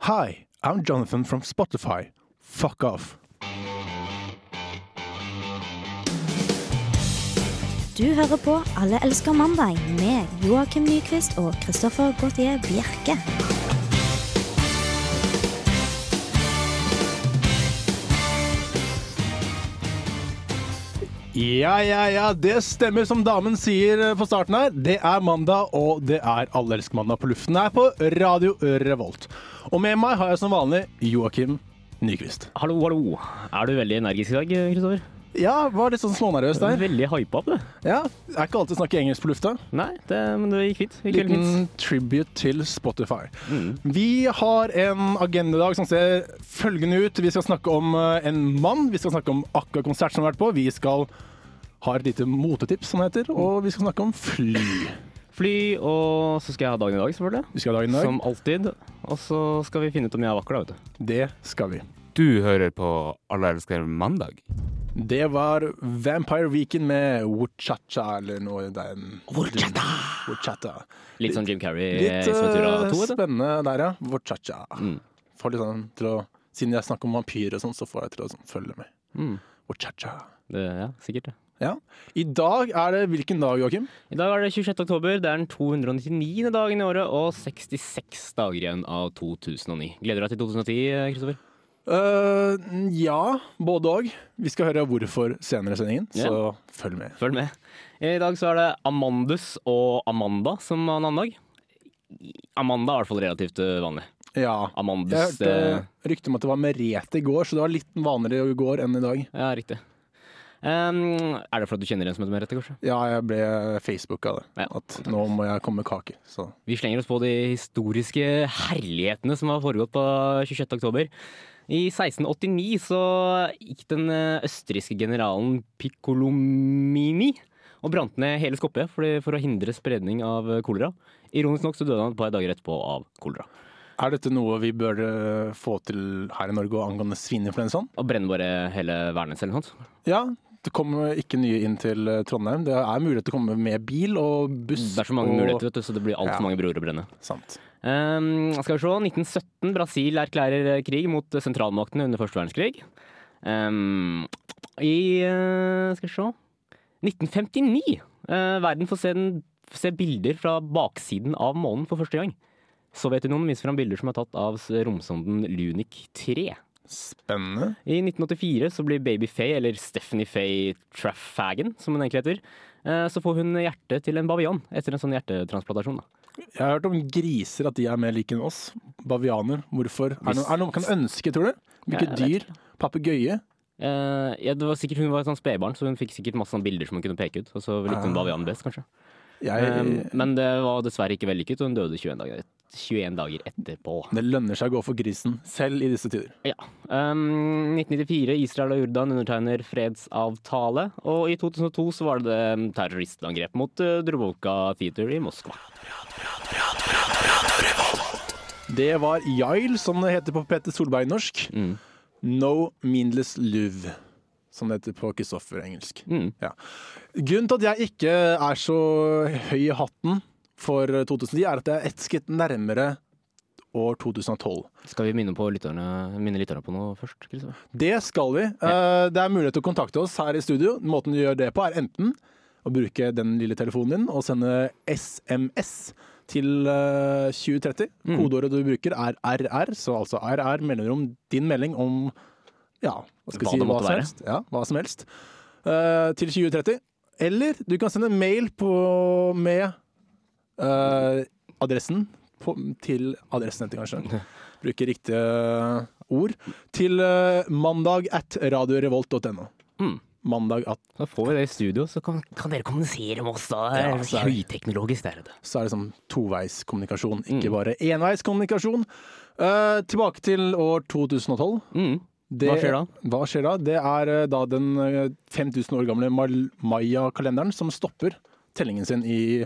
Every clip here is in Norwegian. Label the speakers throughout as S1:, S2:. S1: Hi, I'm Jonathan from Spotify. Fuck off.
S2: Du hører på Alle elsker mandag med Joakim Nyquist og Christoffer Gautier Bjerke.
S1: Ja, ja, ja, det stemmer som damen sier eh, på starten her. Det er mandag, og det er Allelskmandag på luften her på Radio Revolt. Og med meg har jeg som vanlig Joakim Nyquist.
S3: Hallo, hallo. Er du veldig energisk i dag, Kristoffer?
S1: Ja, var litt sånn smånervøs der.
S3: Veldig hypa opp, du.
S1: Ja, jeg er ikke alltid snakke engelsk på lufta.
S3: Nei, det, men det gikk fint. Det Gikk veldig fint.
S1: Liten tribute til Spotify. Vi har en agenda i dag som ser følgende ut. Vi skal snakke om eh, en mann, vi skal snakke om akkurat konsert som har vært på, vi skal ha et lite motetips, som det heter, og vi skal snakke om fly.
S3: Fly, og så skal jeg ha dagen i dag, selvfølgelig.
S1: Vi skal ha dagen i dag.
S3: Som alltid. Og så skal vi finne ut om jeg er vakker, da, vet du.
S1: Det skal vi.
S4: Du hører på Alle elsker mandag.
S1: Det var Vampire Weekend med Wuchacha eller noe i den Wuchacha!
S3: Litt sånn Jim Carrey
S1: Litt
S3: i Sventura
S1: eh,
S3: 2, vet du.
S1: spennende der, ja. Wuchacha. Får litt sånn til å Siden jeg snakker om vampyrer og sånn, så får jeg til å sånn, følge med.
S3: Mm.
S1: Wuchacha.
S3: Det, ja, sikkert det.
S1: Ja. I dag er det hvilken dag, Joakim?
S3: I dag er det 26. oktober. Det er den 299. dagen i året og 66 dager igjen av 2009. Gleder du deg til 2010, Kristoffer?
S1: Eh, ja, både og. Vi skal høre hvorfor senere i sendingen, så
S3: Ja.
S1: følg med.
S3: Følg med. Eh, I dag så er det Amandus og Amanda som har navnedag. Amanda er i hvert fall relativt eh, vanlig.
S1: Ja. Jeg
S3: Amandus
S1: hørte
S3: det-
S1: rykte om at det var Merete i går, så det var litt vanligere i går enn i dag.
S3: Ja, riktig. Ehm, er det fordi du kjenner en som heter Merete, kanskje?
S1: Ja, jeg ble Facebook av det.
S3: Ja.
S1: At nå må jeg komme med kake. Så.
S3: Vi slenger oss på de historiske herlighetene som har foregått på 26. oktober. I 1689 så gikk den eh, østerrikske generalen Piccolomini og brant ned hele Skopje fordi- for å hindre spredning av eh, kolera. Ironisk nok så døde han et par dager etterpå av kolera.
S1: Er dette noe vi bør eh, få til her i Norge og angående svineinfluensaen?
S3: Og brenner bare hele Værnes eller noe sånt.
S1: Ja, det kommer ikke nye inn til eh, Trondheim. Det er mulighet til å komme med bil og buss.
S3: Det er så mange
S1: og...
S3: muligheter, vet du, så det blir altfor
S1: Ja.
S3: mange broer å brenne.
S1: Sant.
S3: Ehm, skal vi se. 1917. Brasil erklærer eh, krig mot sentralmaktene under første verdenskrig. Ehm, I eh, Skal vi se 1959. eh, verden får se, den, se bilder fra baksiden av månen for første gang. Sovjetunionen viser fram bilder som er tatt av romsonden Lunik 3.
S1: Spennende.
S3: I 1984 så blir Baby Faye, eller Stephanie Faye Traffagan, som hun egentlig heter, eh, så får hun hjertet til en bavian etter en sånn hjertetransplantasjon. da.
S1: Jeg har hørt om griser, at de er mer like enn oss. Bavianer. Hvorfor? Er det noe, er det noe man kan ønske, tror du? Hvilke
S3: Jeg vet
S1: dyr? Papegøye?
S3: Eh, ja, det var sikkert Hun var et sånt spedbarn, så hun fikk sikkert masse sånne bilder som hun kunne peke ut. Og så likte hun
S1: Ah.
S3: bavianen best, kanskje. Eh,
S1: Jeg
S3: men det var dessverre ikke vellykket, og hun døde 21 dager, 21 dager etterpå.
S1: Det lønner seg å gå for grisen, selv i disse tider.
S3: Ja. Um, 1994, Israel og Jordan undertegner fredsavtale. Og i 2002 så var det um, terroristangrep mot uh, Droboka Theater i Moskva.
S1: Det var Jail, som det heter på Peter Solberg i norsk.
S3: Mm.
S1: No meanless love, som det heter på Kristoffer engelsk.
S3: Mm.
S1: Ja. Grunnen til at jeg ikke er så høy i hatten for eh, 2010, er at jeg er ett skritt nærmere år 2012.
S3: Skal vi minne, på lytterne, minne lytterne på noe først? Kristoffer?
S1: Det skal vi. Eh, Det er mulighet til å kontakte oss her i studio. Måten du gjør det på, er enten å bruke den lille telefonen din og sende SMS til eh, 2030.
S3: Mm.
S1: Kodeordet du bruker er RR, så altså RR melder om din melding om ja, hva, skal jeg
S3: Hva
S1: si,
S3: det
S1: hva
S3: måtte
S1: som
S3: være.
S1: helst. Ja, hva som helst. eh, til 2030. Eller du kan sende mail på, med eh, adressen på, til adressen heter det kanskje. Bruke riktige ord. Til eh, mandag at radiorevolt.no.
S3: Mm.
S1: Mandag at
S3: Da får vi det i studio, så kan, kan dere kommunisere med oss da.
S1: Ja,
S3: Det er
S1: så er-
S3: Høyteknologisk, det er det.
S1: så er det sånn toveiskommunikasjon,
S3: Mm.
S1: ikke bare enveiskommunikasjon. Eh, tilbake til år 2012.
S3: Mm.
S1: Det-
S3: Hva skjer da?
S1: Hva skjer da? Det er eh, da den eh, 5000 år gamle mal- Maya-kalenderen som stopper tellingen sin i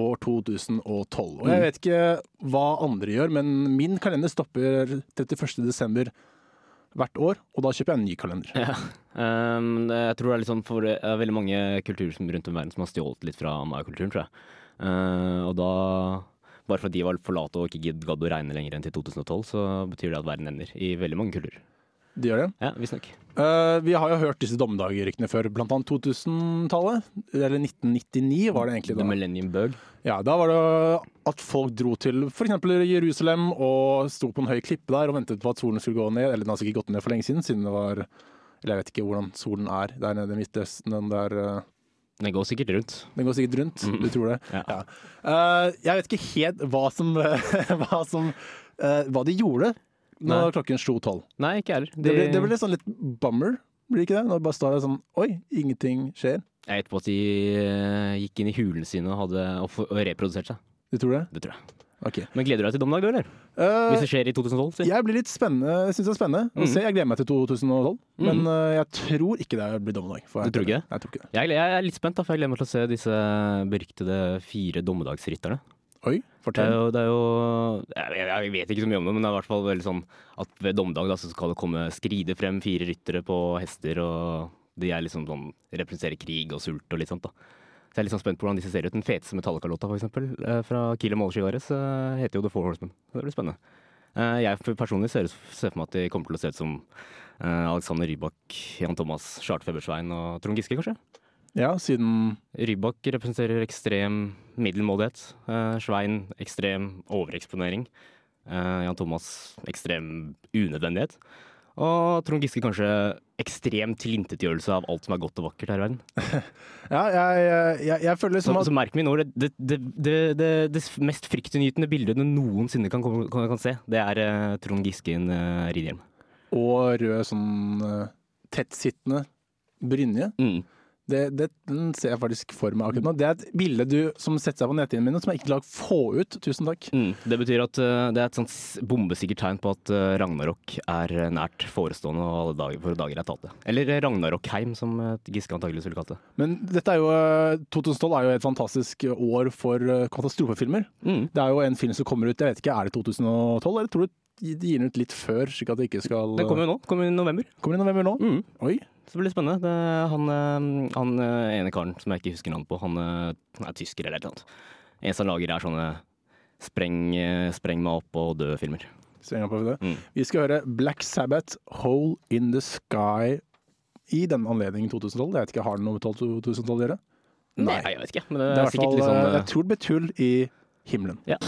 S1: år 2012. Og
S3: Mm.
S1: jeg vet ikke hva andre gjør, men min kalender stopper 31. desember hvert år, og da kjøper jeg en ny kalender.
S3: Ja. Um, det- jeg tror det er litt sånn for det er veldig mange kulturer som rundt om i verden som har stjålet litt fra mayakulturen, tror jeg. Uh, og Ehm, da Bare fordi de var for late og ikke gidd gadd å regne lenger enn til 2012, så betyr det at verden ender i veldig mange kulturer.
S1: De gjør det.
S3: Ja, visstnok.
S1: Eh, vi har jo hørt disse dommedagsryktene før, blant annet 2000-tallet. Eller 1999 var det egentlig
S3: The
S1: da.
S3: Millennium Bug.
S1: Ja, da var det at folk dro til f.eks. Jerusalem og sto på en høy klippe der og ventet på at solen skulle gå ned. Eller den har sikkert gått ned for lenge siden, siden det var Eller jeg vet ikke hvordan solen er der nede i Midtøsten. Den, der, eh,
S3: Den går sikkert rundt.
S1: den går sikkert rundt, du tror det.
S3: Mm. Ja.
S1: Ja. Eh, jeg vet ikke helt hva som, hva, som eh, hva de gjorde når
S3: Nei.
S1: klokken slo tolv.
S3: Nei, ikke heller.
S1: Det ble, det ble litt sånn litt bummer, blir det ikke det? Når det bare står der sånn Oi, ingenting skjer.
S3: Jeg vet på at de eh, gikk inn i hulene sine og, hadde, og, for- og reproduserte seg.
S1: Du tror det?
S3: Det tror jeg.
S1: Ok.
S3: Men gleder du deg til dommedag, du, eller?
S1: Eh,
S3: Hvis det skjer i 2012? Si.
S1: Jeg blir litt spennende, synes det er spennende å
S3: Mhm.
S1: se. Jeg gleder meg til 2012, men
S3: Mhm.
S1: øh, jeg tror ikke det blir dommedag. for jeg-
S3: Du tror ikke det?
S1: Jeg tror ikke det.
S3: Jeg, jeg er litt spent, da, for jeg gleder meg til å se disse beryktede fire dommedagsrytterne.
S1: Oi,
S3: Det er
S1: fortell.
S3: jo, Eh, det er jo jeg, jeg- jeg vet ikke så mye om det, men det er i hvert fall veldig sånn at ved dommedag da, så skal det komme skride frem fire ryttere på hester, og de er liksom sånn, representerer krig og sult og litt sånt. da. Så jeg er litt sånn spent på hvordan disse ser ut. Den feteste Metallica-låta, for eksempel, eh, fra Kilo Målskivares, heter jo The Four Horsemen. Så det blir spennende. Eh, Jeg for- personlig ser, ser for meg at de kommer til å se ut som eh, Alexander Rybak, Jan Thomas, Charlotte Febersvein og Trond Giske, kanskje?
S1: Ja, siden
S3: Rybak representerer ekstrem middelmådighet. Eh, Svein ekstrem overeksponering. Eh, Jan Thomas ekstrem unødvendighet. Og Trond Giske kanskje ekstrem tilintetgjørelse av alt som er godt og vakkert her i verden.
S1: Ja, jeg, jeg, jeg, jeg føler
S3: Så,
S1: som at
S3: så merk meg nå, det, det, det, det, det, det mest fryktinngytende bildet du noensinne kan, komme- kan, kan se, det er eh, Trond Giske i en eh, ridehjelm.
S1: Og rød sånn øh, tettsittende brynje.
S3: Mm.
S1: Det, det den ser jeg faktisk for meg akkurat nå. Det er et bilde du, som setter seg på netthinnene mine, som jeg ikke lar få ut. Tusen takk.
S3: Mm. Det betyr at eh, det er et sånt s- bombesikkert tegn på at eh, Ragnarok er eh, nært forestående, og alle dager, våre dager er talte. Eller eh, Ragnarokheim, som eh, Giske antakelig skulle kalt det.
S1: Men dette er jo, øh, 2012 er jo et fantastisk år for øh, katastrofefilmer.
S3: Mm.
S1: Det er jo en film som kommer ut, jeg vet ikke, er det 2012, eller tror du de gir den ut litt før, slik at det ikke skal eh,
S3: Den kommer jo nå, kommer i november.
S1: Kommer i november nå?
S3: Mm.
S1: Oi.
S3: Så det blir spennende. Det, er han, eh, han eh, ene karen som jeg ikke husker navnet på, han eh, han er tysker eller et eller annet. En som lager er sånne spreng, eh, spreng meg opp og dø-filmer.
S1: Strenger på det.
S3: Mm.
S1: Vi skal høre Black Sabbath, 'Hole in the Sky', i den anledningen 2012. Jeg vet ikke, Har den noe med 12 2012 å gjøre?
S3: Nei. jeg vet ikke, men
S1: Det
S3: det
S1: er
S3: er,
S1: i hvert
S3: sikkert
S1: fall,
S3: litt sånn
S1: eh, jeg
S3: eh,
S1: tror det betyr hull i himmelen.
S3: Ja.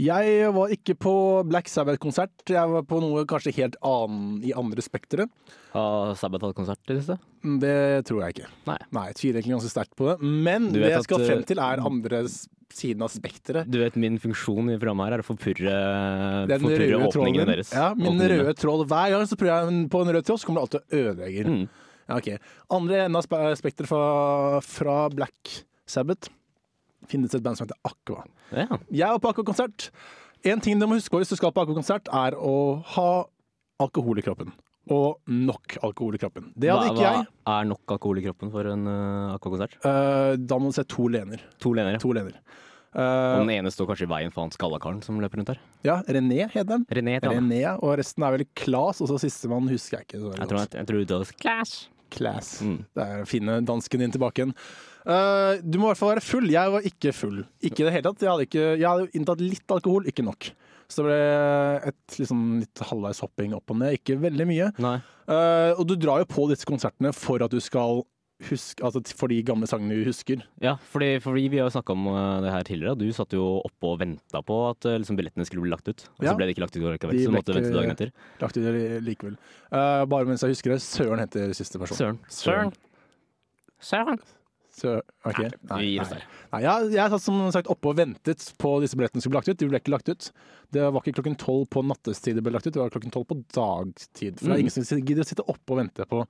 S1: Jeg var ikke på Black Sabbath-konsert. Jeg var på noe kanskje helt annen i andre spekteret. Mm,
S3: Har Sabbath hatt konsert i det siste?
S1: Det tror jeg ikke.
S3: Nei.
S1: jeg tviler egentlig ganske sterkt på det. Men
S3: Du
S1: det
S3: vet
S1: jeg skal
S3: at,
S1: frem
S3: eh,
S1: til, er andre s- siden av spekteret.
S3: Du vet min funksjon i programmet her er å forpurre,
S1: Den
S3: forpurre
S1: røde tråden
S3: åpningene
S1: min.
S3: deres.
S1: Ja, min
S3: Åpningene.
S1: røde tråd. Hver gang så prøver jeg en- på en rød tråd, så kommer det alltid og ødelegger.
S3: Mm.
S1: Ja, ok. Andre enden av spe- spekteret fra, fra Black Sabbath finnes et band som heter Aqua.
S3: Ja.
S1: Jeg var på Aqua-konsert. En ting du må huske på hvis du skal på Aqua-konsert, er å ha alkohol i kroppen. Og nok alkohol i kroppen. Det hadde
S3: hva,
S1: ikke jeg.
S3: Hva er nok alkohol i kroppen for en uh, akkordkonsert?
S1: Eh, Da må du se to lener.
S3: To lenere.
S1: To lener.
S3: Og
S1: Eh,
S3: den ene står kanskje i veien for han skallakaren som løper rundt her.
S1: Ja, René heter den.
S3: René heter han.
S1: René, og resten er vel Klas, og så sistemann husker jeg ikke. så veldig
S3: Jeg tror,
S1: godt.
S3: jeg, jeg tror det uttales Clash.
S1: Klas.
S3: Mm.
S1: Det er å finne dansken din tilbake igjen. Eh, du må i hvert fall være full. Jeg var ikke full. Ikke i det hele tatt. Jeg hadde, ikke, jeg hadde inntatt litt alkohol, ikke nok. Så det ble et liksom, litt halvveis hopping opp og ned, ikke veldig mye.
S3: Nei.
S1: Eh, og du drar jo på disse konsertene for at du skal huske Altså for de gamle sangene du husker.
S3: Ja, fordi, fordi vi har jo snakka om eh, det her tidligere. og Du satt jo oppe og venta på at eh, liksom, billettene skulle bli lagt ut. Og
S1: Ja.
S3: så ble det ikke lagt ut, likevel,
S1: De
S3: så du måtte
S1: ble
S3: vente
S1: ikke-
S3: dagen etter.
S1: Lagt ut likevel. Eh, bare mens jeg husker det, Søren heter siste person.
S3: Søren.
S1: Søren.
S3: Søren.
S1: Sø- ok.
S3: Nei, vi gir oss der.
S1: Nei, jeg, jeg satt som sagt oppe og ventet på disse billettene som ble lagt ut. De ble ikke lagt ut. Det var ikke klokken tolv på nattestid det ble lagt ut, det var klokken tolv på dagtid. For det er
S3: Mm.
S1: ingen som gidder å sitte oppe og vente på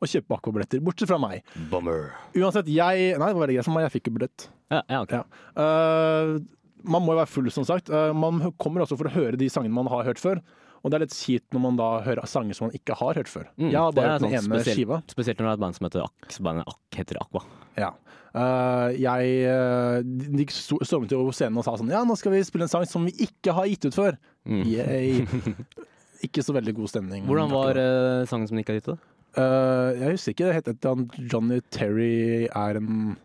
S1: å kjøpe Aqua-billetter, bortsett fra meg.
S3: Bummer.
S1: Uansett, jeg Nei, det var veldig greit for meg, jeg fikk jo billett.
S3: Ja, ja, ok.
S1: Ja. Eh, man må jo være full, som sagt. Eh, man hø- kommer også for å høre de sangene man har hørt før. Og det er litt kjipt når man da hører sanger som man ikke har hørt før.
S3: Mm,
S1: jeg har
S3: det
S1: bare
S3: er
S1: hørt den
S3: sånn
S1: ene
S3: spesielt-
S1: skiva.
S3: Spesielt når det er et band som heter Ak, så bandet Ak heter Aqua.
S1: Ja. Eh, jeg, eh, de de sto- stormet jo på scenen og sa sånn Ja, nå skal vi spille en sang som vi ikke har gitt ut før.
S3: Mm.
S1: Yay. ikke så veldig god stemning.
S3: Hvordan var eh, sangen som de ikke har gitt ut? da?
S1: Eh, Jeg husker ikke. Det het et eller annet Johnny Terry er en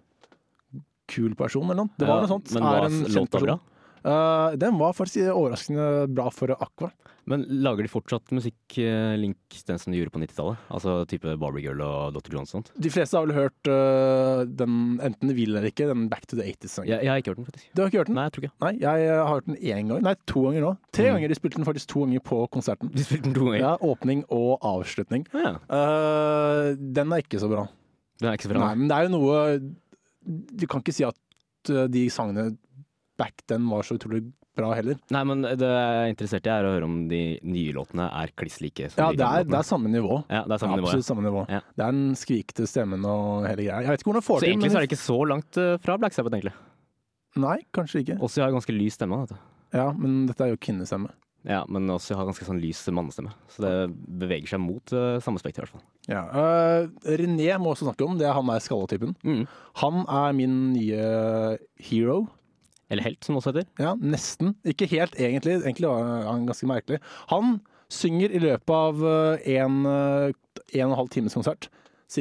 S1: kul person eller noe. Det var
S3: Ja,
S1: noe sånt.
S3: men
S1: Er
S3: var
S1: en
S3: låta
S1: kjent person.
S3: bra?
S1: Eh, den var faktisk overraskende bra for Aqua.
S3: Men lager de fortsatt musikk eh, link den som de gjorde på 90-tallet? Altså type Barbie Girl og Dr. Jones og sånt?
S1: De fleste har vel hørt eh, den, enten de vil eller ikke, den Back to the 80s-sangen.
S3: Jeg, jeg har ikke hørt den, faktisk.
S1: Du har ikke hørt den?
S3: Nei, jeg tror ikke.
S1: Nei, jeg eh, har hørt den én gang. Nei, to ganger nå. Tre
S3: Mm.
S1: ganger. De spilte den faktisk to ganger på konserten.
S3: Du spilte den to ganger?
S1: Ja, Åpning og avslutning.
S3: Ja.
S1: Eh, den er ikke så bra.
S3: Den er ikke så bra.
S1: Nei, men det er jo noe Du kan ikke si at eh, de sangene back then var så utrolig bra heller.
S3: Nei, men det jeg er interessert i, er å høre om de nye låtene er kliss like. som
S1: Ja,
S3: de
S1: det
S3: gamle
S1: er, det
S3: låtene.
S1: er samme nivå.
S3: ja, det er samme nivå.
S1: Absolutt
S3: Ja.
S1: samme nivå.
S3: Ja.
S1: Det er den skrikete stemmen og hele greia. Jeg vet ikke hvordan jeg får
S3: Så
S1: til,
S3: egentlig så er det ikke så langt eh, fra Black Sabbath, egentlig.
S1: Nei, kanskje ikke.
S3: Også har ganske lys stemme. Vet du.
S1: Ja, men dette er jo kvinnestemme.
S3: Ja, men også har ganske sånn lys mannestemme. Så det beveger seg mot eh, samme spekter, i hvert fall.
S1: Ja. eh, René må også snakke om, det er han der skallatypen.
S3: Mm.
S1: Han er min nye hero.
S3: Eller Helt, som det også heter.
S1: Ja, nesten. Ikke helt, egentlig. Egentlig var han ganske merkelig. Han synger i løpet av eh, en, eh, en og en halv times konsert.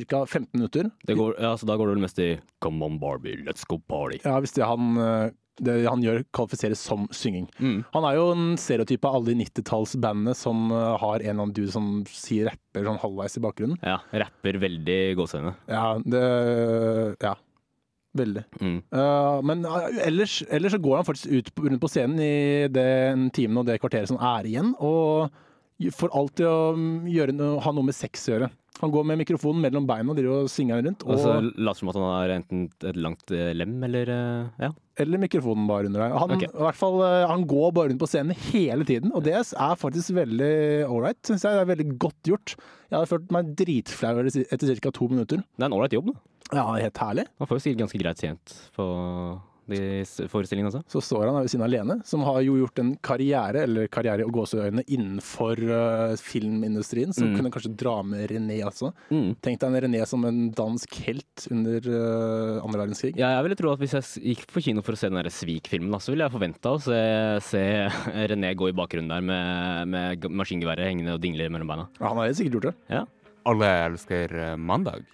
S1: Ca. 15 minutter.
S3: Det går, ja, så da går det vel mest i Come on Barbie, let's go party.
S1: Ja, hvis det han, eh, det han gjør, kvalifiseres som synging.
S3: Mm.
S1: Han er jo en stereotyp av alle de 90-tallsbandene som eh, har en eller annen dude som sier rapper sånn halvveis i bakgrunnen.
S3: Ja, rapper veldig gåsehøyne.
S1: Ja, det Ja. Veldig.
S3: Mm.
S1: Eh, men eh, ellers, ellers så går han faktisk ut på, rundt på scenen i den timen og det kvarteret som er igjen, og får alltid å mm, gjøre noe, ha noe med sex å gjøre. Han går med mikrofonen mellom beina og driver og svinger den rundt. Og,
S3: Og så later som at han har enten et langt eh, lem, eller eh, Ja.
S1: eller mikrofonen bare under deg. Han,
S3: Ok.
S1: i hvert fall, eh, han går bare rundt på scenen hele tiden, og det er faktisk veldig ålreit, syns jeg. Det er veldig godt gjort. Jeg hadde følt meg dritflau etter ca. to minutter.
S3: Det er en ålreit jobb, da.
S1: Ja, helt herlig.
S3: Han får jo sikkert ganske greit tjent på de s- forestillingene også.
S1: så står han her ved siden av Lene, som har jo gjort en karriere, eller karriere og gåseøyne, innenfor eh, filmindustrien, som
S3: Mm.
S1: kunne kanskje dra med René også.
S3: Mm.
S1: Tenk deg en René som en dansk helt under eh, andre verdenskrig.
S3: Ja, jeg ville tro at hvis jeg s- gikk på kino for å se den der Svik-filmen, da, så ville jeg forventa å se, se René gå i bakgrunnen der med, med g- maskingeværet hengende og dingler mellom beina.
S1: Ja, han har helt sikkert gjort det.
S3: Ja.
S4: Alle elsker eh, mandag.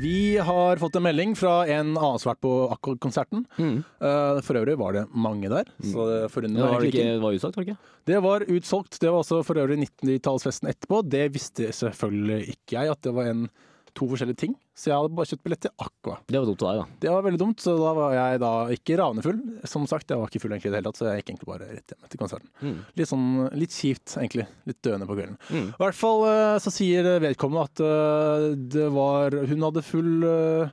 S1: Vi har fått en melding fra en annen som har vært på Akko-konserten. Eh, for øvrig var det mange der, så Mm. det
S3: Mm. Det
S1: forundrer meg
S3: var,
S1: egentlig
S3: ikke,
S1: ikke.
S3: det var utsagt, var det ikke?
S1: Det var utsolgt. Det var også for øvrig 1990-tallsfesten etterpå. Det visste selvfølgelig ikke jeg, at det var en, to forskjellige ting. Så jeg hadde bare kjøpt billett til Aqua.
S3: Det var dumt av deg, da.
S1: Det var veldig dumt, så da var jeg da ikke ranefull. Som sagt, jeg var ikke full egentlig i det hele tatt, så jeg gikk egentlig bare rett hjem etter konserten.
S3: Mm.
S1: Litt sånn, litt kjipt egentlig. Litt døende på kvelden.
S3: Mm.
S1: I hvert fall eh, så sier vedkommende at eh, det var Hun hadde full eh,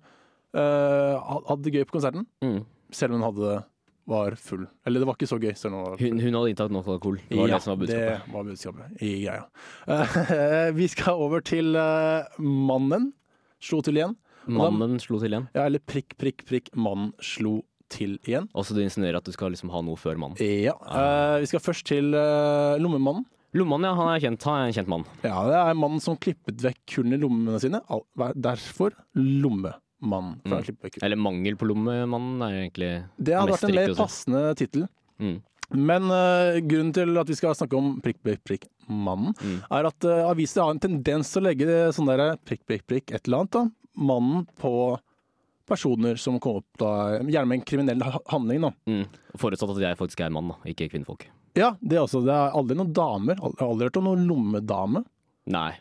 S1: eh, Hadde det gøy på konserten,
S3: Mm.
S1: selv om hun hadde var full. Eller det var ikke så gøy, selv om hun var
S3: Hun, hun hadde inntatt nok alkohol. Det var det som var budskapet.
S1: det var budskapet i greia. Eh, vi skal over til eh, mannen. Slo til igjen.
S3: Mannen slo til igjen.
S1: Ja, eller prikk, prikk, prikk. Mannen slo til igjen.
S3: Og så du insinuerer at du skal liksom ha noe før mannen.
S1: Ja. eh, vi skal først til eh, Lommemannen.
S3: Lommemannen, ja. Han er kjent. Han er en kjent mann.
S1: Ja, Det er mannen som klippet vekk hullene i lommene sine. Al- hver- Derfor Lommemannen. For
S3: Mm.
S1: han klippet vekk hull.
S3: Eller mangel på lommemannen er egentlig
S1: Det hadde
S3: mest
S1: vært en mer
S3: riktig å si.
S1: passende tittel.
S3: Mm.
S1: Men eh, grunnen til at vi skal snakke om prikk, prikk, prikk mannen,
S3: Mm.
S1: er at eh, aviser har en tendens til å legge det sånn derre prikk, prikk, prikk, et eller annet, da. Mannen på personer som kom opp da, gjerne med en kriminell ha- handling, da.
S3: Mm. Forutsatt at jeg faktisk er mann, da, ikke kvinnfolk.
S1: Ja, det er også. Det er aldri noen damer. Al- Jeg har aldri hørt om noen lommedame.
S3: Nei,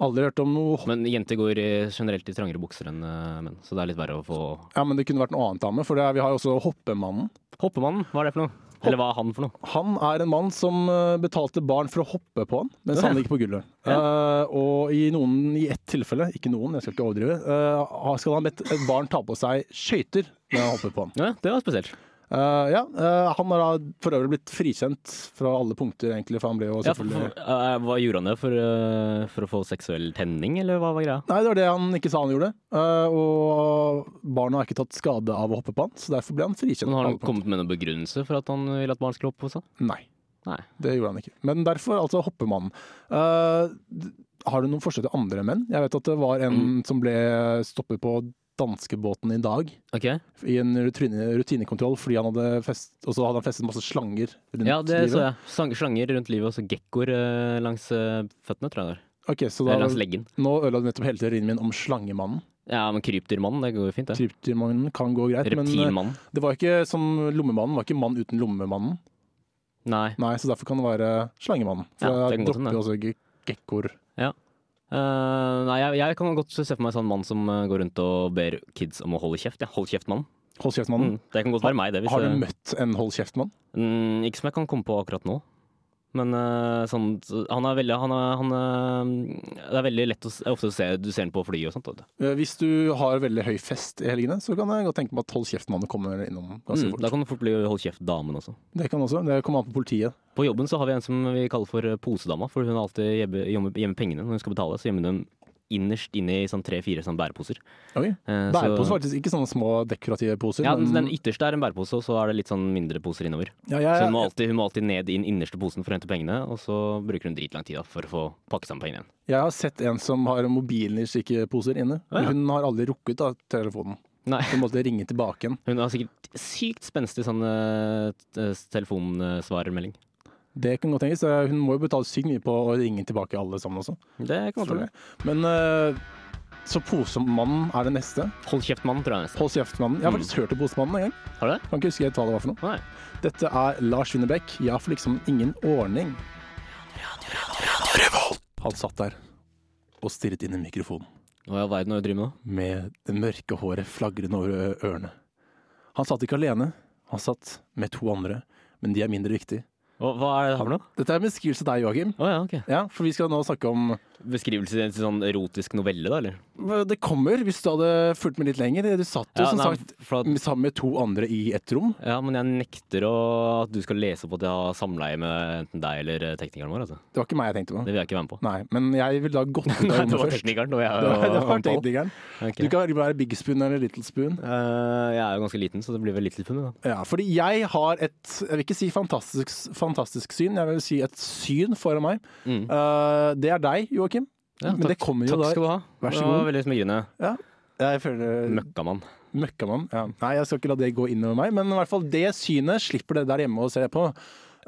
S1: Aldri hørt om noe
S3: men jenter går i- generelt i trangere bukser enn eh, menn, så det er litt verre å få
S1: Ja, men det kunne vært noe annet dame, for det er, vi har jo også Hoppemannen.
S3: Hoppemannen, hva er det for noe? Eller hva er han for noe?
S1: Han er en mann som eh, betalte barn for å hoppe på han, mens han
S3: Ja.
S1: gikk på gulvet. Eh, og i noen, i ett tilfelle, ikke noen, jeg skal ikke overdrive, eh, skal han bedt et barn ta på seg skøyter når han hopper på han.
S3: Ja, det var spesielt.
S1: Eh, ja, eh, han har da for øvrig blitt frikjent fra alle punkter, egentlig, for han ble jo
S3: Ja, for,
S1: selvfølgelig
S3: for, eh, hva gjorde han det for, eh, for å få seksuell tenning, eller hva var greia?
S1: Nei, det var det han ikke sa han gjorde. Eh, og barna har ikke tatt skade av å hoppe på han, så derfor ble han frikjent. på
S3: Men har
S1: alle
S3: han
S1: punkter.
S3: kommet med noen begrunnelse for at han ville at barn skulle hoppe på seg?
S1: Nei.
S3: Nei.
S1: Det gjorde han ikke. Men derfor altså hoppemannen. Eh, d- har du noen forslag til andre menn? Jeg vet at det var en
S3: Mm.
S1: som ble stoppet på danskebåten i dag.
S3: Ok,
S1: I en rutine, rutinekontroll, fordi han hadde fest, og så hadde han festet masse slanger rundt
S3: ja, det
S1: livet.
S3: så jeg. Sang- Slanger rundt livet og så gekkoer eh, langs eh, føttene, tror jeg det var.
S1: Ok, så
S3: Eller
S1: da,
S3: langs leggen.
S1: Nå ødela du nettopp hele teorien min om slangemannen.
S3: Ja, men krypdyrmannen, det går jo fint, det.
S1: Kryptyrmannen kan gå greit, men eh,
S3: Reptilmannen.
S1: det var ikke som lommemannen, var ikke mann uten lommemannen.
S3: Nei.
S1: Nei, så derfor kan det være slangemannen. For
S3: Ja, det
S1: jeg
S3: kan godt hende.
S1: dropper jo også ge- gekkoer.
S3: Eh, nei, jeg, jeg kan godt se for meg en sånn mann som eh, går rundt og ber kids om å holde kjeft. Ja. Hold kjeft, mann.
S1: Hold kjeftmannen.
S3: Mm. Det kan godt være meg, det. Hvis
S1: Har du
S3: jeg-
S1: møtt en hold kjeftmann?
S3: Mm, ikke som jeg kan komme på akkurat nå. Men eh, sånn, han er veldig han er, han er, Det er veldig lett å, s- ofte å se Du ser han på fly og sånt. vet du.
S1: Eh, Hvis du har veldig høy fest i helgene, så kan jeg godt tenke meg at hold kjeftmannen kommer innom ganske
S3: Mm, da
S1: fort.
S3: kan du fort bli hold kjeft-damen også.
S1: Det kan også. Det kommer an på politiet.
S3: På jobben så har vi en som vi kaller for eh, posedama, for hun har alltid gjemme, gjemme, gjemme pengene når hun skal betale. Så gjemmer hun dem innerst inne i sånn tre-fire sånn bæreposer.
S1: Oi.
S3: Eh, så-
S1: Bæreposer, faktisk. Ikke sånne små dekorative poser.
S3: Ja, den,
S1: men-
S3: den ytterste er en bærepose, og så er det litt sånn mindre poser innover.
S1: ja,
S3: Så
S1: jeg,
S3: hun må alltid, hun må alltid ned i den innerste posen for å hente pengene, og så bruker hun dritlang tid da, for å få pakket sammen pengene igjen.
S1: jeg har sett en som har mobilen i slike poser inne.
S3: Ja, ja.
S1: Hun har aldri rukket da, telefonen.
S3: Nei.
S1: Hun måtte ringe tilbake igjen.
S3: Hun har sikkert sykt spenstig sånn eh, t- eh, telefonsvarermelding.
S1: Det kan godt tenkes. Eh, Hun må jo betale sykt mye på å ringe tilbake alle sammen også.
S3: Det kan man tro.
S1: Men eh, så posemannen er det neste.
S3: Hold kjeft, mann, tror jeg nesten.
S1: Hold kjeftmannen. Jeg
S3: Mm.
S1: har faktisk hørt om posemannen en gang.
S3: Har du det?
S1: Kan ikke huske helt hva det var for noe.
S3: Nei.
S1: Dette er Lars Winnerbäck. Jeg har for liksom ingen ordning. Han satt der og stirret inn i mikrofonen.
S3: Hva i all verden har du drevet med nå?
S1: med det mørke håret flagrende over ø- ørene. Han satt ikke alene, han satt med to andre, men de er mindre viktige.
S3: Hva, hva er det her for noe?
S1: Dette er en beskrivelse av deg, Joakim.
S3: Å ja, ok.
S1: Ja, for vi skal nå snakke om
S3: Beskrivelse til en sånn erotisk novelle, da, eller?
S1: Det kommer, hvis du hadde fulgt med litt lenger. Du satt jo som
S3: nei,
S1: sagt
S3: for at,
S1: sammen med to andre i et rom.
S3: ja, men jeg nekter å, at du skal lese opp at jeg har samleie med enten deg eller eh, teknikeren vår. Altså.
S1: Det var ikke meg jeg tenkte på.
S3: Det vil jeg ikke være med på.
S1: Nei, men jeg ville da gått ut av
S3: Nei, det
S1: rommet
S3: var
S1: først.
S3: teknikeren og jeg.
S1: Det var, det var
S3: og Pål.
S1: teknikeren.
S3: Ok.
S1: Du kan velge være Big Spoon eller Little Spoon.
S3: Eh, jeg er jo ganske liten, så det blir vel litt funnet, da.
S1: Ja, fordi jeg har et Jeg vil ikke si fantastisk, fantastisk syn, jeg vil si et syn foran meg.
S3: Mm.
S1: Eh, det er deg, Joakim.
S3: Ja,
S1: Men det
S3: takk-
S1: kommer jo
S3: Takk
S1: da-
S3: skal du ha.
S1: Vær så Eh,
S3: Det var Veldig smigrende.
S1: Ja. Jeg føler
S3: Møkkamann.
S1: Møkkamann. Ja. Nei, jeg skal ikke la det gå inn over meg, men i hvert fall det synet slipper dere der hjemme å se på.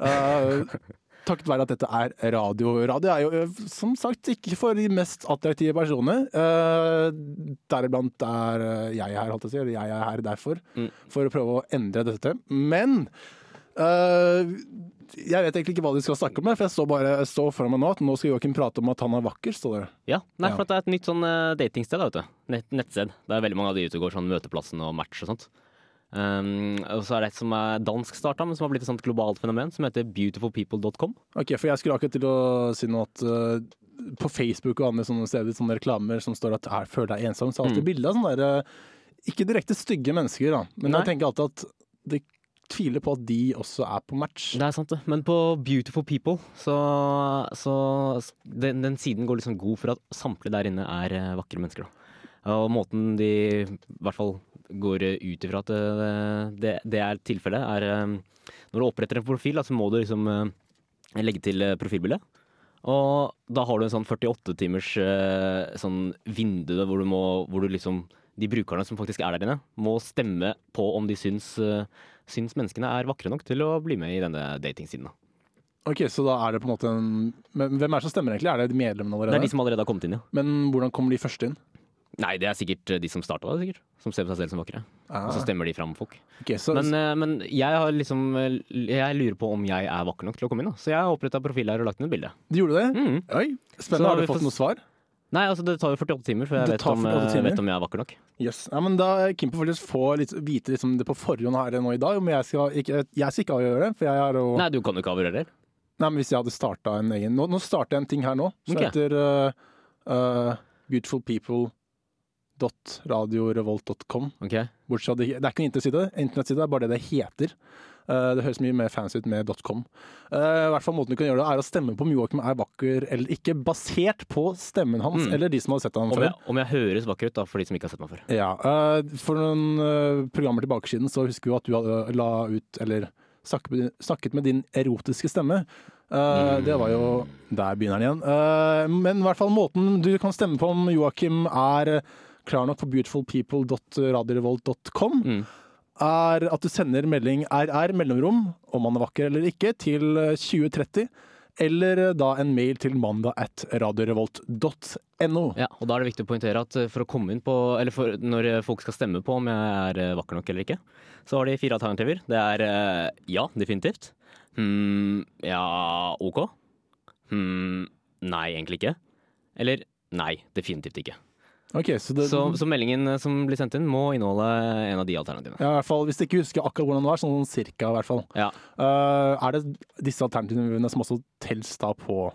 S1: Eh, takket være at dette er radio. Radio er jo eh, som sagt ikke for de mest attraktive personene. Eh, Deriblant er eh, jeg her, holdt jeg på å si. Eller jeg er her derfor.
S3: Mm.
S1: For å prøve å endre dette. Men eh, jeg vet egentlig ikke hva de skal snakke om, for jeg står bare jeg står foran meg nå at nå skal Joakim prate om at han er vakker, står det.
S3: Ja, nei,
S1: Ja.
S3: for at det er et nytt sånn eh, datingsted, da, vet du. Nett, nettsted. Det er veldig mange av de ute og går sånn Møteplassen og Match og sånt. Um, og så er det et som er dansk starta, men som har blitt et sånt globalt fenomen, som heter beautifulpeople.com.
S1: Ok, for jeg skulle akkurat til å si noe at eh, på Facebook og andre sånne steder, sånne reklamer som står at «Er- 'føl deg ensom', så er det
S3: Mm.
S1: alltid bilde av sånne der, eh, ikke direkte stygge mennesker, da. men
S3: Nei.
S1: jeg tenker alltid at de tviler på at de også er på match.
S3: Det er sant, det. Men på Beautiful People, så, så s- den, den siden går liksom god for at samtlige der inne er eh, vakre mennesker, da. Og måten de i hvert fall går eh, ut ifra at eh, det, det er tilfellet, er eh, når du oppretter en profil, da, så må du liksom eh, legge til eh, profilbildet. Og da har du en sånn 48-timers eh, sånn vindu da, hvor du må hvor du liksom, De brukerne som faktisk er der inne, må stemme på om de syns, eh, syns menneskene er vakre nok til å bli med i denne datingsiden. da.
S1: Ok, Så da er det på en måte en Men hvem er det som stemmer egentlig? Er det medlemmene
S3: Det er
S1: allerede?
S3: de som allerede har kommet inn, ja.
S1: Men hvordan kommer de først inn?
S3: Nei, det er sikkert eh, de som starta det, sikkert. Som ser på seg selv som vakre.
S1: Ah,
S3: Og så stemmer de fram folk.
S1: ok, så,
S3: Men, eh, men jeg har liksom eh, Jeg lurer på om jeg er vakker nok til å komme inn, da. Så jeg har oppretta profil her og lagt ned et bilde.
S1: de gjorde det?
S3: Mm.
S1: Oi,
S3: Så
S1: spennende. Har
S3: vi
S1: du fått
S3: får-
S1: noe svar?
S3: Nei, altså det tar jo 48 timer før jeg
S1: Det
S3: vet
S1: tar
S3: om, eh,
S1: 48 timer.
S3: vet om jeg er vakker nok.
S1: Yes. Ja, men da Kim får faktisk få litt, vite liksom det på forhånd her nå i dag. Men jeg skal ikke, jeg skal ikke avgjøre det, for jeg har jo
S3: Nei, du kan jo ikke avgjøre det.
S1: Nei, men hvis jeg hadde starta en egen Nå, nå starter jeg en ting her nå, som
S3: Ok.
S1: heter uh, uh, beautifulpeople.radiorevolt.com.
S3: Ok
S1: Bortsett fra det, det er ikke en internettside, en internettside det er bare det det heter. Uh, det høres mye mer fancy ut med .com. Uh, I hvert fall Måten du kan gjøre det, er å stemme på om Joakim er vakker eller ikke, basert på stemmen hans
S3: Mm.
S1: eller de som har sett ham
S3: Om
S1: før.
S3: jeg, om jeg høres vakker ut, da, for de som ikke har sett meg før.
S1: Ja, eh, For noen eh, programmer tilbake siden så husker vi at du hadde eh, la ut, eller snakket med din, snakket med din erotiske stemme. Eh, Det var jo Der begynner den igjen. Eh, men i hvert fall måten du kan stemme på om Joakim er eh, klar nok på beautifulpeople.radiorevolt.com,
S3: Mm.
S1: er at du sender melding RR mellomrom, om han er vakker eller ikke, til 2030. eh, eller da en mail til mandag at radiorevolt.no.
S3: Ja, og da er det viktig å poengtere at eh, for å komme inn på, eller for, når eh, folk skal stemme på om jeg er eh, vakker nok eller ikke, så har de fire alternativer. Det er eh, ja, definitivt. Hm, ja, ok. Hm, nei, egentlig ikke. Eller nei, definitivt ikke.
S1: Ok, så det,
S3: Så, så meldingen eh, som blir sendt inn må inneholde en av de alternativene.
S1: ja, i hvert fall, Hvis du ikke husker akkurat hvordan det var, sånn cirka i hvert fall.
S3: Ja.
S1: Eh, er det disse alternativene som også telles da på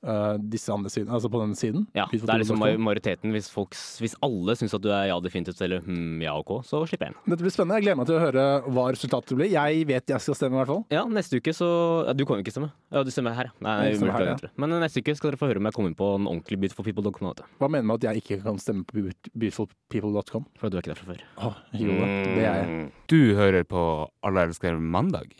S1: eh, disse andre siden, altså på denne siden?
S3: Ja, det er liksom majoriteten. Hvis, folk, s- hvis alle syns at du er ja, definitivt eller hm, ja, ok, så slipper jeg inn.
S1: Dette blir spennende. Jeg gleder meg til å høre hva resultatet blir. Jeg vet jeg skal stemme, i hvert fall.
S3: Ja, neste uke så ja, Du kan jo ikke stemme. Ja, du stemmer her. ja. Nei,
S1: Jeg stemmer her,
S3: beklager,
S1: ja.
S3: jeg tror. Men eh, neste uke skal dere få høre om jeg kom inn på en ordentlig Beautiful People dokument. vet du.
S1: Hva mener du med at jeg ikke kan stemme på beaut- beautifulpeople.com?
S3: For du er ikke der fra før.
S1: Åh, jo da, Mm. det er jeg.
S3: Mm.
S4: Du hører på Alle elsker mandag.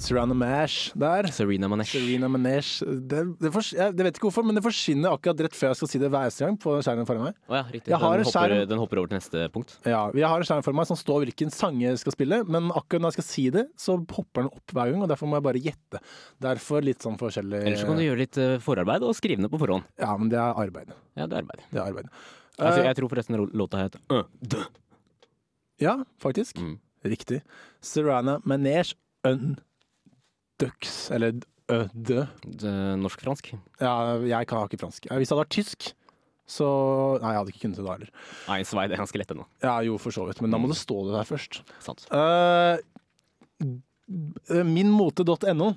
S1: Serrano Mash der.
S3: Serena Manesh.
S1: Serena Manesh. Det, det, fors jeg, det vet ikke hvorfor, men det forsvinner akkurat rett før jeg skal si det hver eneste gang på skjermen foran meg.
S3: Å ja, riktig.
S1: Jeg har en
S3: den, hopper,
S1: skjerm.
S3: den hopper over til neste punkt.
S1: Ja, Jeg har en skjerm foran meg som står hvilken sang jeg skal spille, men akkurat når jeg skal si det, så popper den opp hver gang, og derfor må jeg bare gjette. Derfor litt sånn forskjellig
S3: Ellers så kan du gjøre litt eh, forarbeid og skrive ned på forhånd.
S1: Ja, men det er arbeid.
S3: Ja, det er arbeid.
S1: Det er arbeid.
S3: Altså,
S1: Eh,
S3: jeg tror forresten ro- låta het Ø, Dø.
S1: ja, faktisk.
S3: Mm.
S1: Riktig. Serrana Manesh Undux, eller Ødø.
S3: Det- eh, Norsk-fransk.
S1: Ja, jeg kan- har ikke fransk. Eh, Hvis det hadde vært tysk, så Nei, jeg hadde ikke kunnet det da heller.
S3: Nei, svei, det er ganske lett ennå.
S1: Ja, jo, for så vidt, men da må det stå det der først.
S3: Sant.
S1: Eh, eh, Minmote.no.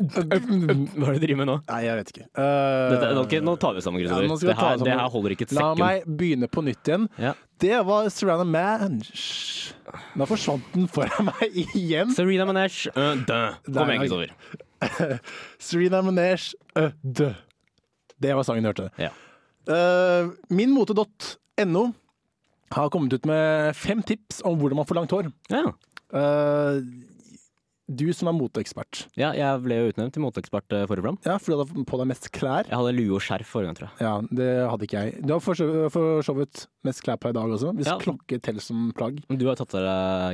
S3: Hva er det du driver med nå?
S1: Nei, jeg vet ikke. Eh,
S3: Dette, nå, ok, nå tar vi sammen,
S1: Ja,
S3: Kristoffer.
S1: nå skal vi
S3: det,
S1: ta
S3: her-
S1: sammen.
S3: det her holder ikke et
S1: La
S3: sekund.
S1: meg begynne på nytt igjen.
S3: Ja.
S1: Det var Serrana Manch. Da forsvant den foran meg igjen.
S3: Serena Manesh, Ø, Dø. Kom
S1: Nei,
S3: igjen,
S1: nei.
S3: Kristoffer.
S1: Serena Manesh, ø, dø. Det var sangen du hørte.
S3: Ja.
S1: Eh, Minmote.no har kommet ut med fem tips om hvordan man får langt hår.
S3: Ja.
S1: Eh, du som er moteekspert.
S3: ja, jeg ble jo utnevnt til moteekspert eh, forrige program.
S1: Ja, for du hadde på deg mest klær.
S3: Jeg hadde lue og skjerf forrige gang, tror jeg.
S1: Ja, det hadde ikke jeg. Du har for så- for så vidt mest klær på i dag også, hvis
S3: Ja.
S1: klokke teller som plagg.
S3: Men Du har tatt av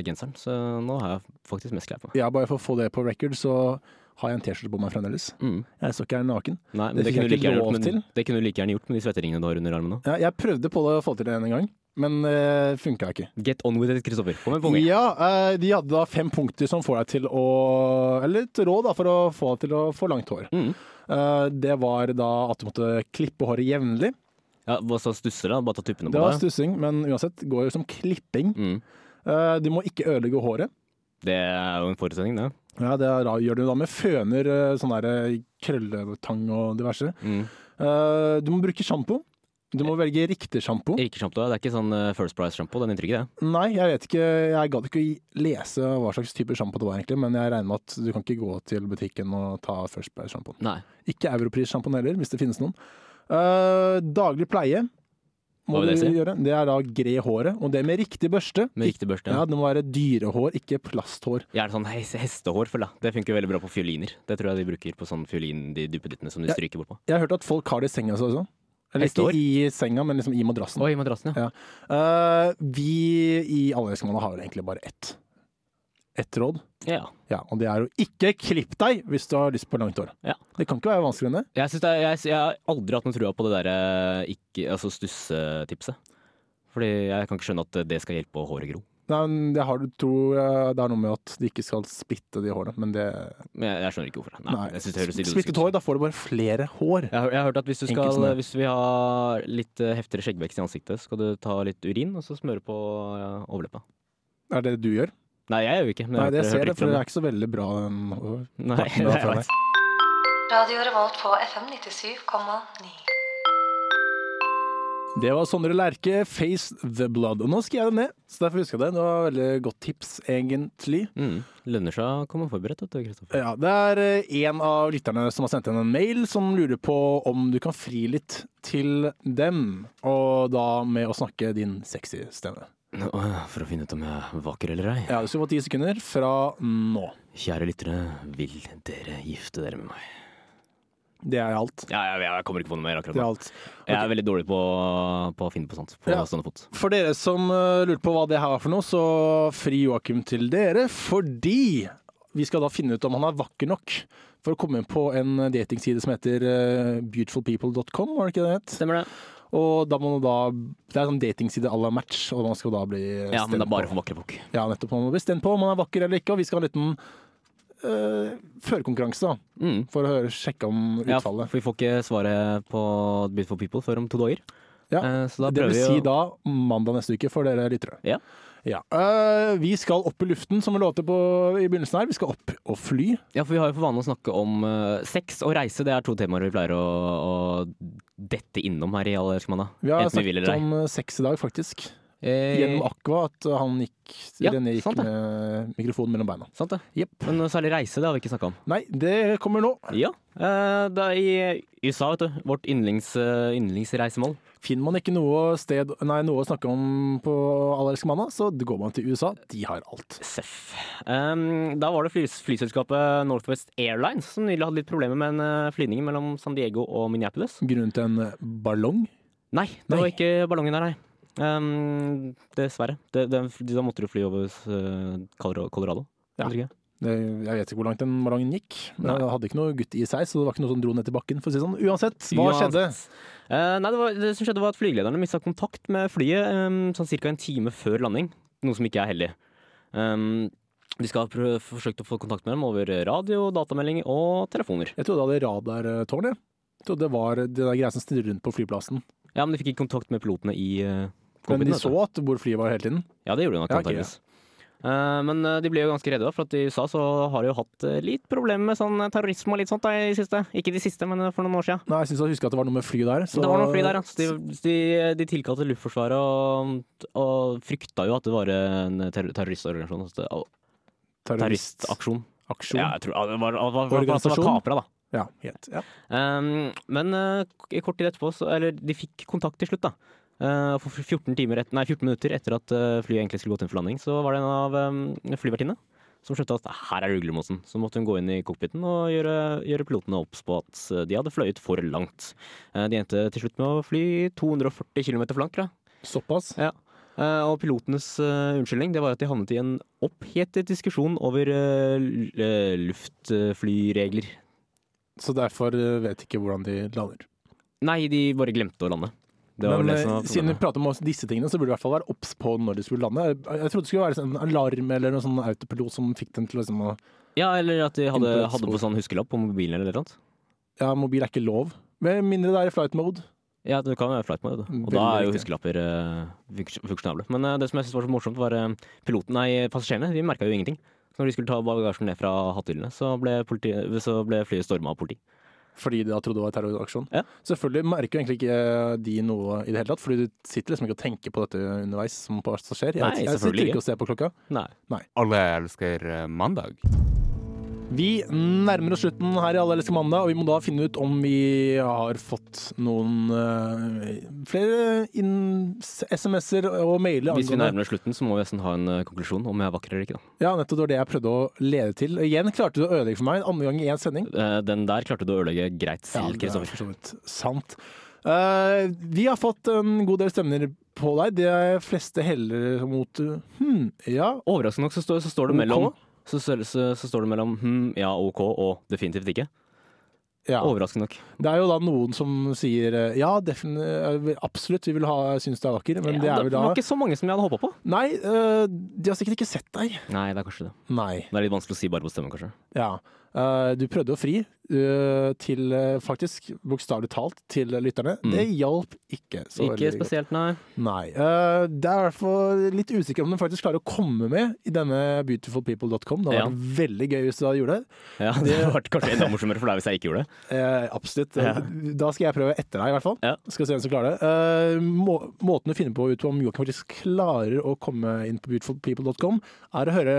S3: deg genseren, så nå har jeg faktisk mest klær på.
S1: Ja, bare for å få det på record, så har jeg en T-skjorte på meg fremdeles.
S3: Mm.
S1: Jeg står ikke her naken.
S3: Nei, men
S1: Det
S3: det,
S1: fikk
S3: kunne du
S1: jeg
S3: like
S1: ikke
S3: gjerne
S1: lov
S3: gjort, men,
S1: til.
S3: det kunne du like gjerne gjort med de svetteringene du har under armene nå.
S1: Ja, jeg prøvde på det å få til det en gang, men uh, funka ikke.
S3: Get on with it, Kristoffer. Kom igjen, Ponge.
S1: Ja, eh, de hadde da fem punkter som får deg til å Eller et råd da, for å få deg til å få langt hår.
S3: Mm.
S1: Eh, Det var da at du måtte klippe håret jevnlig.
S3: Ja, hva så stusser da? Bare ta tuppene
S1: Det
S3: på
S1: var
S3: deg.
S1: stussing, men uansett går jo som klipping.
S3: Mm.
S1: Eh, Du må ikke ødelegge håret.
S3: Det er jo en forutsetning, det.
S1: Ja, Det er da, gjør du da med føner, eh, sånn der eh, krølletang og diverse.
S3: Mm.
S1: Eh, Du må bruke sjampo. Du må velge riktig sjampo.
S3: Rikesjampo, det er ikke sånn eh, First Price-sjampo, den inntrykket, det.
S1: Nei, jeg vet ikke. Jeg gadd ikke å lese hva slags type sjampo det var, egentlig, men jeg regner med at du kan ikke gå til butikken og ta First Price-sjampoen.
S3: Nei.
S1: Ikke europrissjampoen heller, hvis det finnes noen. Eh, daglig pleie må
S3: Hva vil
S1: du
S3: det si?
S1: gjøre. Det er da gre håret, og det med riktig børste.
S3: Med riktig børste.
S1: Ja,
S3: Ja.
S1: Det må være dyrehår, ikke plasthår.
S3: Jeg er sånn hes hestehår, føler jeg. Det funker veldig bra på fioliner. Det tror jeg de bruker på sånn fiolin, de duppedittene som de
S1: Ja.
S3: stryker bort på.
S1: Jeg har hørt at folk har det i senga si også. altså. Eller ikke
S3: Hestehår?
S1: i senga, men liksom i madrassen.
S3: Oi, madrassen, ja.
S1: Ja. Eh, vi i Allerøyskanalen har jo egentlig bare ett. Ett råd,
S3: ja.
S1: ja, og det er å ikke klipp deg hvis du har lyst på langt hår.
S3: Ja.
S1: Det kan ikke være vanskeligere enn det.
S3: Jeg, synes det er, jeg, jeg har aldri hatt noe trua på det der eh, ikke- altså stussetipset. Fordi jeg kan ikke skjønne at det skal hjelpe å håret gro.
S1: Nei, men det, har, du- tror, eh, det er noe med at de ikke skal splitte de hårene, men det
S3: Men jeg, jeg skjønner ikke hvorfor. Nei,
S1: Nei.
S3: Jeg synes det høres idiotisk
S1: Splittet
S3: ut.
S1: hår, da får du bare flere hår.
S3: Jeg har, jeg har hørt at hvis, du
S1: Enkelt
S3: skal,
S1: som det.
S3: hvis vi har litt eh, heftigere skjeggvekst i ansiktet, skal du ta litt urin og så smøre på ja, overleppa.
S1: Er det det du gjør?
S3: Nei, jeg gjør jo ikke. Men
S1: Nei,
S3: jeg
S1: det
S3: hørte-
S1: ser jeg,
S3: hørte rykter
S1: for
S3: om
S1: det er ikke så veldig bra. Den.
S3: Nei,
S1: Takk for det,
S3: jeg
S1: Frane.
S3: vet.
S5: Radio Revolt på FM 97,9.
S1: Det var Sondre Lerche, 'Face the Blood'. Og nå skrev jeg det ned, så derfor husker jeg det. Det var veldig godt tips, egentlig.
S3: Mm. Lønner seg å komme forberedt, vet du, Kristoffer.
S1: Ja, det er eh, en av lytterne som har sendt inn en mail, som lurer på om du kan fri litt til dem. Og da med å snakke din sexy stemme.
S3: Nå, øh, For å finne ut om jeg er vakker eller ei.
S1: Ja, du skal få ti sekunder fra nå.
S3: Kjære lyttere, vil dere gifte dere med meg?
S1: Det er alt.
S3: Ja, jeg, jeg kommer ikke på noe mer akkurat
S1: Det er
S3: nå.
S1: alt.
S3: Jeg er veldig dårlig på, på å finne på sånt på
S1: Ja.
S3: stående fot.
S1: For dere som eh, lurte på hva det her var for noe, så fri Joakim til dere, fordi Vi skal da finne ut om han er vakker nok for å komme inn på en datingside som heter eh, beautifulpeople.com, var det ikke det det het?
S3: Stemmer det?
S1: Og da må man da Det er en sånn datingside à la match, og man skal da bli
S3: Ja, men
S1: stemt
S3: det er bare
S1: på.
S3: for vakre folk.
S1: Ja, nettopp. Man må bli stemt på om man er vakker eller ikke, og vi skal ha en liten eh, førkonkurranse, da.
S3: Mm.
S1: For å høre, sjekke om
S3: Ja, for
S1: utfallet.
S3: vi får ikke svaret på Beautiful People før om to dager.
S1: Ja,
S3: Eh, så da
S1: det
S3: prøver
S1: vil
S3: vi
S1: si
S3: å-
S1: da mandag neste uke for dere lyttere.
S3: Ja.
S1: Ja. Eh, vi skal opp i luften, som vi lovte på, i begynnelsen her. Vi skal opp og fly.
S3: Ja, for vi har jo for vane å snakke om eh, sex og reise. Det er to temaer vi pleier å, å dette innom her i Alle elsker mandag.
S1: Vi har
S3: Enten vi vil
S1: snakket
S3: eller ei.
S1: om eh, sex i dag, faktisk.
S3: Eh,
S1: Gjennom Aqua at han gikk
S3: Ja,
S1: René gikk
S3: sant det.
S1: med mikrofonen mellom beina.
S3: Sant det. Men noe særlig reise, det har vi ikke snakka om.
S1: Nei, det kommer nå.
S3: Ja. eh, det er i USA, vet du. Vårt yndlings, eh, yndlingsreisemål.
S1: Finner man ikke noe, sted, nei, noe å snakke om på Allerske mandag, så går man til USA. De har alt.
S3: Seff. Um, E da var det flys flyselskapet Northwest Airlines som nylig hadde litt problemer med en eh, flygning mellom San Diego og Minneapolis.
S1: Grunnen til en ballong.
S3: Nei, det
S1: Nei.
S3: var ikke ballongen der, nei. Um, dessverre. Det- det- da måtte du fly over eh, Colorado. Colorado.
S1: Ja.
S3: tror jeg.
S1: Det, jeg vet ikke hvor langt den ballongen gikk. Men
S3: Nei.
S1: Den hadde ikke noe gutt i seg, så det var ikke noe som dro ned til bakken. For å si det sånn. Uansett, hva skjedde?
S3: Uansett. Eh, nei, det, var, det som skjedde var at flygelederne mista kontakt med flyet um, sånn ca. en time før landing. Noe som ikke er heldig. Um, de skal ha prøv- forsøkt å få kontakt med dem over radio, datamelding og telefoner.
S1: Jeg trodde det hadde radartårn. jeg. Jeg trodde det var det der greia som stirrer rundt på flyplassen.
S3: Ja, Men de fikk ikke kontakt med pilotene i uh,
S1: Men de så at hvor flyet var hele tiden.
S3: Ja, det gjorde de nok
S1: Ja, ok,
S3: antageligvis. Eh, Men eh, de ble jo ganske redde, da, for at i USA så har de jo hatt eh, litt problemer med sånn eh, terrorisme og litt sånt da, i siste. Ikke de siste, men eh, for noen år siden.
S1: Nei, jeg syns jeg husker at det var noe med fly der. så-
S3: Det var noen fly der, ja. Så de, de, de tilkalte Luftforsvaret og, og frykta jo at det var en terror- terroristorganisasjon. altså, det- og-
S1: Terroristaksjon.
S3: Terroristaksjon. Ja, jeg tror, ja, det var, det var, det var, det var
S1: Organisasjon?
S3: kapra, da.
S1: Ja, helt. Ja.
S3: Um, men eh, k- kort tid etterpå, så, eller de fikk kontakt til slutt, da. Eh, for 14, timer et, nei, 14 minutter etter at eh, flyet egentlig skulle gått inn for landing, så var det en av um, flyvertinnene som skjønte at her er det uglemosen. Så måtte hun gå inn i cockpiten og gjøre, gjøre pilotene obs på at eh, de hadde fløyet for langt. Eh, de endte til slutt med å fly 240 km for langt, tror jeg.
S1: Såpass.
S3: Ja. Eh, og pilotenes eh, unnskyldning det var at de havnet i en opphetet diskusjon over eh, l- eh, luftflyregler.
S1: Så derfor eh, vet ikke hvordan de lander.
S3: Nei, de bare glemte å lande. Det var
S1: Men
S3: vel det som
S1: eh,
S3: var
S1: siden vi
S3: problemet.
S1: prater om også disse tingene, så burde du i hvert fall være obs på når de skulle lande. Jeg jeg trodde det skulle være sånn en alarm eller noen sånn autopilot som fikk dem til å liksom å
S3: Ja, eller at de hadde,
S1: Inne på et
S3: hadde på sånn huskelapp på mobilen eller noe.
S1: Ja, mobil er ikke lov. Med mindre det er i flight mode.
S3: Ja, du kan være flight mode, du. og
S1: Veldig
S3: da er jo
S1: riktig.
S3: huskelapper eh, funks- funksjonable. Men eh, det som jeg syntes var så morsomt, var eh, piloten, nei, passasjerene, de merka jo ingenting. Så når de skulle ta bagasjen ned fra hattehyllene, så ble, politi, så ble flyet storma av politi.
S1: Fordi de da trodde det var terroraksjon.
S3: Ja.
S1: Selvfølgelig merker jo egentlig ikke eh, de noe i det hele tatt, fordi du sitter liksom ikke og tenker på dette underveis som passasjer. Jeg,
S3: Nei,
S1: jeg
S3: selvfølgelig
S1: sitter
S3: ikke.
S1: ikke og ser på klokka.
S3: Nei.
S4: Alle elsker eh, mandag.
S1: Vi nærmer oss slutten her i Alle elsker mandag, og vi må da finne ut om vi har fått noen eh, flere inn- SMS-er og mailer.
S3: Hvis vi
S1: angående-
S3: nærmer oss slutten, så må vi nesten ha en eh, konklusjon om jeg er vakker eller ikke. Da.
S1: Ja, nettopp det var det jeg prøvde å lede til. Igjen klarte du å ødelegge for meg en andre gang i én sending.
S3: Eh, Den der klarte du å ødelegge greit
S1: Ja,
S3: selv,
S1: det er
S3: Kristoffer.
S1: for så vidt sant. Eh, vi har fått en god del stemmer på deg. De er fleste heller mot eh, hm, ja,
S3: Overraskende nok så står, så står det
S1: Ok.
S3: mellom så, så, så, så står det mellom hm, ja, ok og definitivt ikke.
S1: ja.
S3: Overraskende nok.
S1: Det er jo da noen som sier eh, ja, defin eh, absolutt, vi vil ha, synes du er vakker, men det
S3: Ja,
S1: er vel da
S3: var ikke så mange som jeg hadde håpa på.
S1: Nei, eh, de har sikkert ikke sett deg.
S3: Nei, det er kanskje det.
S1: Nei.
S3: Det er litt vanskelig å si bare på stemmen, kanskje.
S1: Ja. Eh, du prøvde å fri eh, til, eh, faktisk, bokstavelig talt, til lytterne.
S3: Mm.
S1: Det hjalp ikke så
S3: Ikke
S1: veldig godt.
S3: spesielt, nei.
S1: Nei. eh, det er i hvert fall litt usikker om du faktisk klarer å komme med i denne beautifulpeople.com. Det hadde
S3: Ja.
S1: vært veldig gøy hvis du hadde gjort det.
S3: Ja, Det hadde vært kanskje enda morsommere for deg hvis jeg ikke gjorde det.
S1: Eh, absolutt.
S3: Ja.
S1: Da skal jeg prøve etter deg, i hvert fall.
S3: Ja.
S1: Skal se hvem som klarer det. Eh, må, måten du finner på ut om Joakim faktisk klarer å komme inn på beautifulpeople.com, er å høre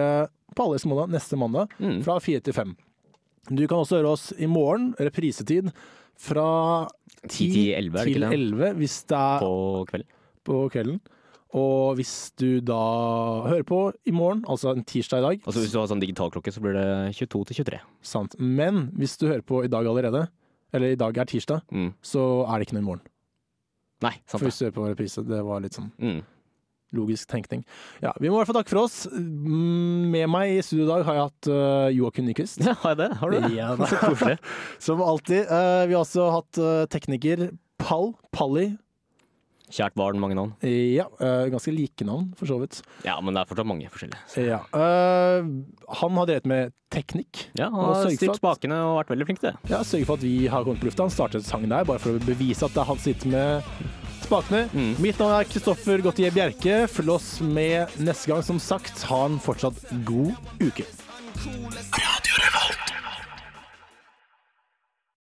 S1: på alle som måned neste mandag
S3: Mm.
S1: fra fire til fem. Du kan også høre oss i morgen, reprisetid, fra
S3: 10
S1: ti
S3: til 11, er det
S1: til
S3: ikke det?
S1: elleve hvis det er
S3: På kvelden.
S1: på kvelden. Og hvis du da hører på i morgen, altså en tirsdag i dag
S3: Altså Hvis du har sånn digital klokke, så blir det 22 til 23.
S1: Sant. Men hvis du hører på i dag allerede, eller i dag er tirsdag,
S3: Mm.
S1: så er det ikke noe i morgen.
S3: Nei, sant
S1: For
S3: det.
S1: hvis du hører på reprise, det var litt sånn
S3: Mm.
S1: Logisk tenkning. Ja, vi må i hvert fall takke for oss. Mm, Med meg i studio i dag har jeg hatt eh, Joakim Nyquist.
S3: Ja, har jeg det? Har du det?
S1: Ja,
S3: Så koselig.
S1: Som alltid. Eh, vi har også hatt eh, tekniker Pall. Palli.
S3: Kjært barn, mange navn.
S1: Ja, eh, ganske like navn, for så vidt.
S3: Ja, men det er fortsatt mange forskjellige.
S1: Ja. eh, han har drevet med teknikk.
S3: Ja,
S1: Og
S3: han har
S1: sørget for
S3: styrt
S1: at-
S3: spakene og vært veldig flink til det.
S1: Ja, Sørge for at vi har kommet på lufta. Han startet sangen der bare for å bevise at det er han som sitter med spakene.
S3: Mm.
S1: Mitt navn er Kristoffer Gautier Bjerke. Følg oss med neste gang. Som sagt, ha en fortsatt god uke.